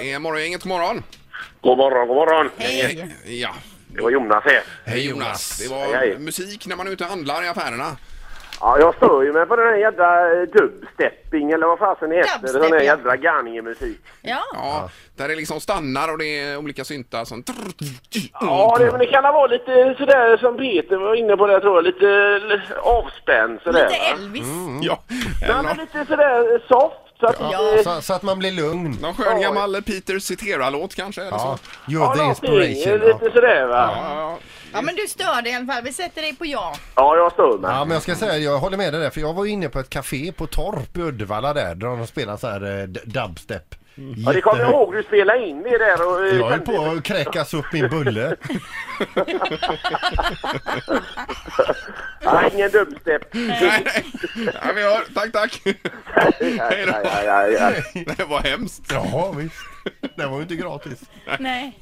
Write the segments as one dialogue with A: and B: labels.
A: Det är morgongänget, god Eh, morgon. Eh,
B: God morgon, god morgon.
C: Hej!
A: Ja.
B: Det var Jonas här.
A: Hej Jonas. Det var
B: Hej, hej.
A: musik när man är ute och handlar i affärerna.
B: Ja, jag stör ju mig på den här jädra eh, dubstepping eller vad fasen det heter.
C: Dubstep,
B: Den här
C: ja.
B: jädra garningemusik.
C: Ja,
A: Ja, där det liksom stannar och det är olika syntar som...
B: Ja, det, men det kan vara lite sådär som Peter var inne på där tror jag. Lite eh, avspänd sådär.
C: lite
B: va?
C: Elvis.
D: Mm.
A: Mm. Ja.
B: Nej, men lite sådär eh, soft. Så att
C: Ja.
B: ja.
D: Så, så att man blir lugn.
A: Någon skön gammal Peter Cetera-låt kanske? Eller så.
D: Ja, you're the inspiration.
B: eh, Lite
D: Ja.
B: sådär va.
A: Ja,
B: Ja,
A: ja,
C: Ja, men du störde i alla fall. Vi sätter dig på ja.
B: jag stör mig.
D: ja, men jag ska säga, jag håller med dig där, för jag var inne på ett café på Torp i Uddevalla där, där de spelar så här eh, d- dubstep.
B: Mm. Ja, det kommer jag ihåg. Du spelade in det där och... eh,
D: Jag höll på att kräkas upp min bulle.
B: Nej, ingen dubstep.
A: Nej, nej. Ja, vi hör. Tack, tack. Hej
B: Nej,
A: då.
B: nej, nej, nej.
A: Det var hemskt.
D: Ja, visst. Den var ju inte gratis.
C: Nej.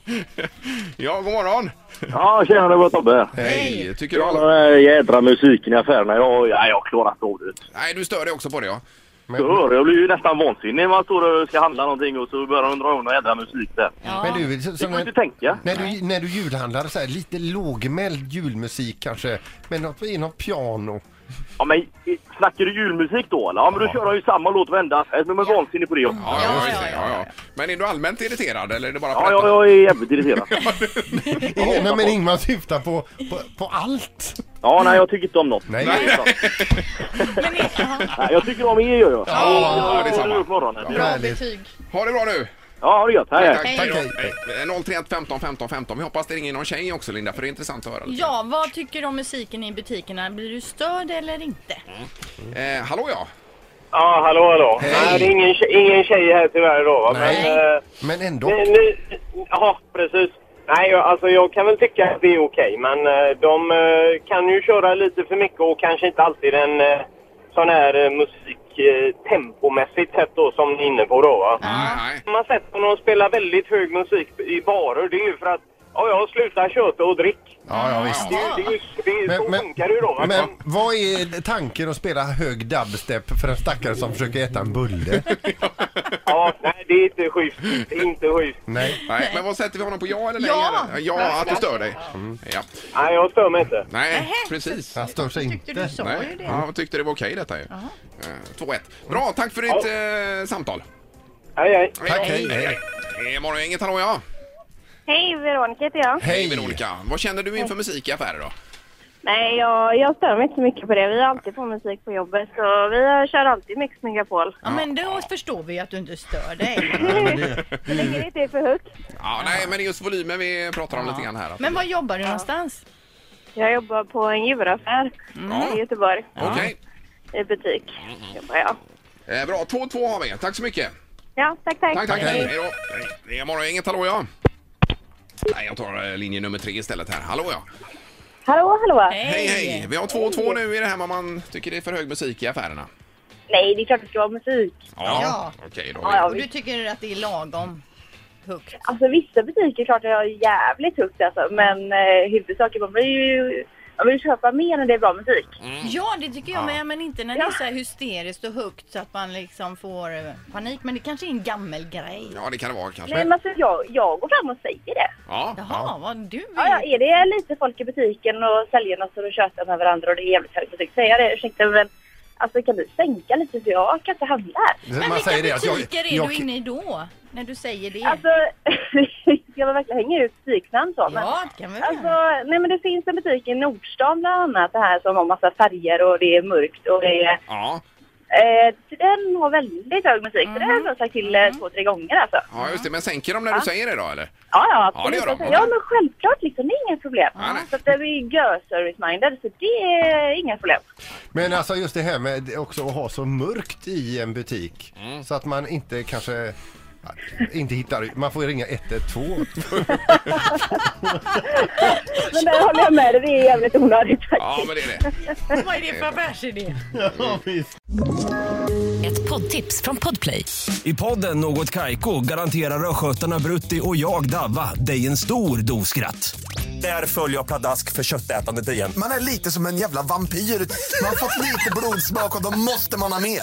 A: Ja, god morgon.
E: Ja, tjena, det var Tobbe.
A: Hej. Tycker du
E: Ja,
A: alla...
E: den här jädra musiken i affärerna. Ja, ja, jag klarar inte av det.
A: Nej, du stör dig också på det ja.
D: Men,
E: Jag hör, jag blir ju nästan vansinnig när man står och ska handla någonting och så börjar de dra om någon jädra musik där.
D: men
C: Ja.
D: du, så,
E: Det
D: så,
E: går ju inte
D: när,
E: tänka.
D: när, du, när du julhandlar, så här, lite lågmäld julmusik kanske, men något, i något piano.
E: Ja, men i- snackar du julmusik då eller? Ja, men då kör de ju samma låt varenda affär. Men man är vansinnig på det också.
A: Ja,
C: Ja,
A: just det.
C: ja,
A: ja, ja. Men är du allmänt irriterad eller är det bara på
E: Ja, ja,
A: detta?
E: jag är jävligt irriterad.
D: Nej, men Ingmar syftar på, på, på allt.
E: Ja,
A: Mm.
E: nej, jag tycker inte om något.
D: Nej.
E: Det är sant.
C: Men, ja.
E: Nej, jag tycker om er gör jag.
A: Ja, det är samma.
E: På morgonen.
D: Ja.
C: Bra
D: Härligt.
C: betyg.
A: Ha det bra nu.
E: Ja, ha det gött. Hej, hej.
A: Tack,
C: Hej.
A: tack. Eh,
D: Hej.
A: Hej. 031 15 15 15. Vi hoppas det ringer någon tjej också Linda, för det är intressant att höra. lite.
C: Ja, vad tycker du om musiken i butikerna? Blir du störd eller inte?
A: Eh, hallå ja.
F: Ja, hallå, hallå.
D: Hej.
F: Nej, det är ingen, tje- ingen tjej här tyvärr idag, va?
D: Nej.
F: Men, eh,
D: Men ändå.
F: ni, ni, ja, precis. Nej, jag, alltså jag kan väl tycka att det är okej, men eh, de eh, kan ju köra lite för mycket och kanske inte alltid en eh, sån här eh, musik eh, tempomässigt sett då, som ni är inne på då, va?
A: Mm. Nej.
F: Man sätter när de spelar väldigt hög musik i barer, det är ju för att ja, jag slutar köta och drick.
D: Ja, ja, visst.
F: Det, är- det, är ju- det, är- så funkar det ju då, va?
D: men vad är tanken att spela hög dubstep för en stackare som försöker äta en bulle?
F: Ja, nej, det är inte schysst. Det är inte schysst.
D: Nej.
A: Nej. Men vad sätter vi honom på? Ja eller nej?
C: Ja.
A: eller? ja att du stör dig. Ja.
F: Nej, jag stör mig inte.
A: Nej,
C: Nähä.
A: precis.
D: Han stör sig
C: Tyckte du
D: inte.
C: sa ju
A: Nej.
C: det.
A: Ja, jag tyckte det var okej detta ju. Eh, 2-1. Bra, tack för ditt eh, samtal.
F: Hej, hej.
D: Tack, hej, hej.
A: Det är Morgongänget, hallå ja.
G: Hej, Veronica heter
A: Hej
G: jag.
D: Hej!
A: Veronica. Vad känner du inför musik i affärer då?
G: Nej, jag, jag stör mig inte så mycket på det. Vi har alltid på musik på jobbet så vi kör alltid Mix Megapol.
C: Ja, men då förstår vi ju att du inte stör dig.
G: Så länge det inte är för högt.
A: Ja, nej, men det är just volymen vi pratar om lite grann här.
C: Men var jobbar du någonstans?
G: Jag jobbar på en djuraffär i
A: Ja,
G: Göteborg.
A: Okej.
G: I butik jobbar jag.
A: Eh, bra, 2-2 har vi. Tack så mycket.
G: Ja, tack, tack.
A: Tack, tack. Hej. Hej då. Det är Morgongänget, hallå ja. Nej, jag tar eh, linje nummer tre istället här. Hallå ja.
G: Hallå, hallå.
A: Hej, hej. Vi har 2-2 nu i det här med man tycker det är för hög musik i affärerna.
G: Nej, det är klart det ska vara musik.
C: Ja.
A: Okej då.
G: Ja, ja,
C: Och du
G: visst.
C: tycker att det är lagom högt?
G: Alltså vissa butiker är klart jag har jävligt högt alltså. Men eh, huvudsaken man vill ju man vill köpa mer när det är bra musik.
A: Mm,
C: Ja, det tycker jag med, men inte när det är
G: Mm. Ja.
C: så här hysteriskt och högt så att man liksom får eh, panik. Men det kanske är en gammal grej.
A: Ja, det kan det vara kanske.
G: Nej, men alltså jag, jag går fram och säger det.
A: Ja.
C: Jaha, vad du vill.
G: Ja, ja, är det lite folk i butiken och säljarna står och tjötar med varandra och det är jävligt högt musik, säger jag det, ursäkta men alltså kan du sänka lite för jag kan inte handla här.
C: Men
D: Man
C: vilka
D: säger det att jag,
C: butiker är du
D: jag,
C: inne i då? När du säger det?
G: Alltså, ska man verkligen hänga ut butiksnamn så? Men,
C: ja, det kan vi väl
G: Alltså,
C: göra.
G: nej men det finns en butik i Nordstan bland annat det här som har massa färger och det är mörkt och det är...
A: Ja.
G: Eh, den har väldigt hög musik, så det
A: Mhm.
G: har jag sagt till eh, två, tre gånger alltså.
A: ja, just det. Men sänker de när du säger det då eller?
G: Ja, ja,
A: Ja, det
G: absolut.
A: gör de.
G: Alltså, ja men självklart liksom, det är inga problem.
A: Ja, nej.
G: Så att det är girl-service-minded, så det är inga problem.
D: men alltså just det här med också att ha så mörkt i en butik så att man inte kanske ja, inte hittar, man får ringa 112.
G: Men där håller jag med dig, det är jävligt onödigt faktiskt.
A: Ja, men det är det.
C: Vad är det för affärsidé?
H: Ett poddtips från Podplay.
I: I podden Något Kaiko garanterar östgötarna Brutti och jag, Davva, dig en stor dos skratt. Där följer jag pladask för köttätandet igen.
J: Man är lite som en jävla vampyr. Man har fått lite blodsmak och då måste man ha mer.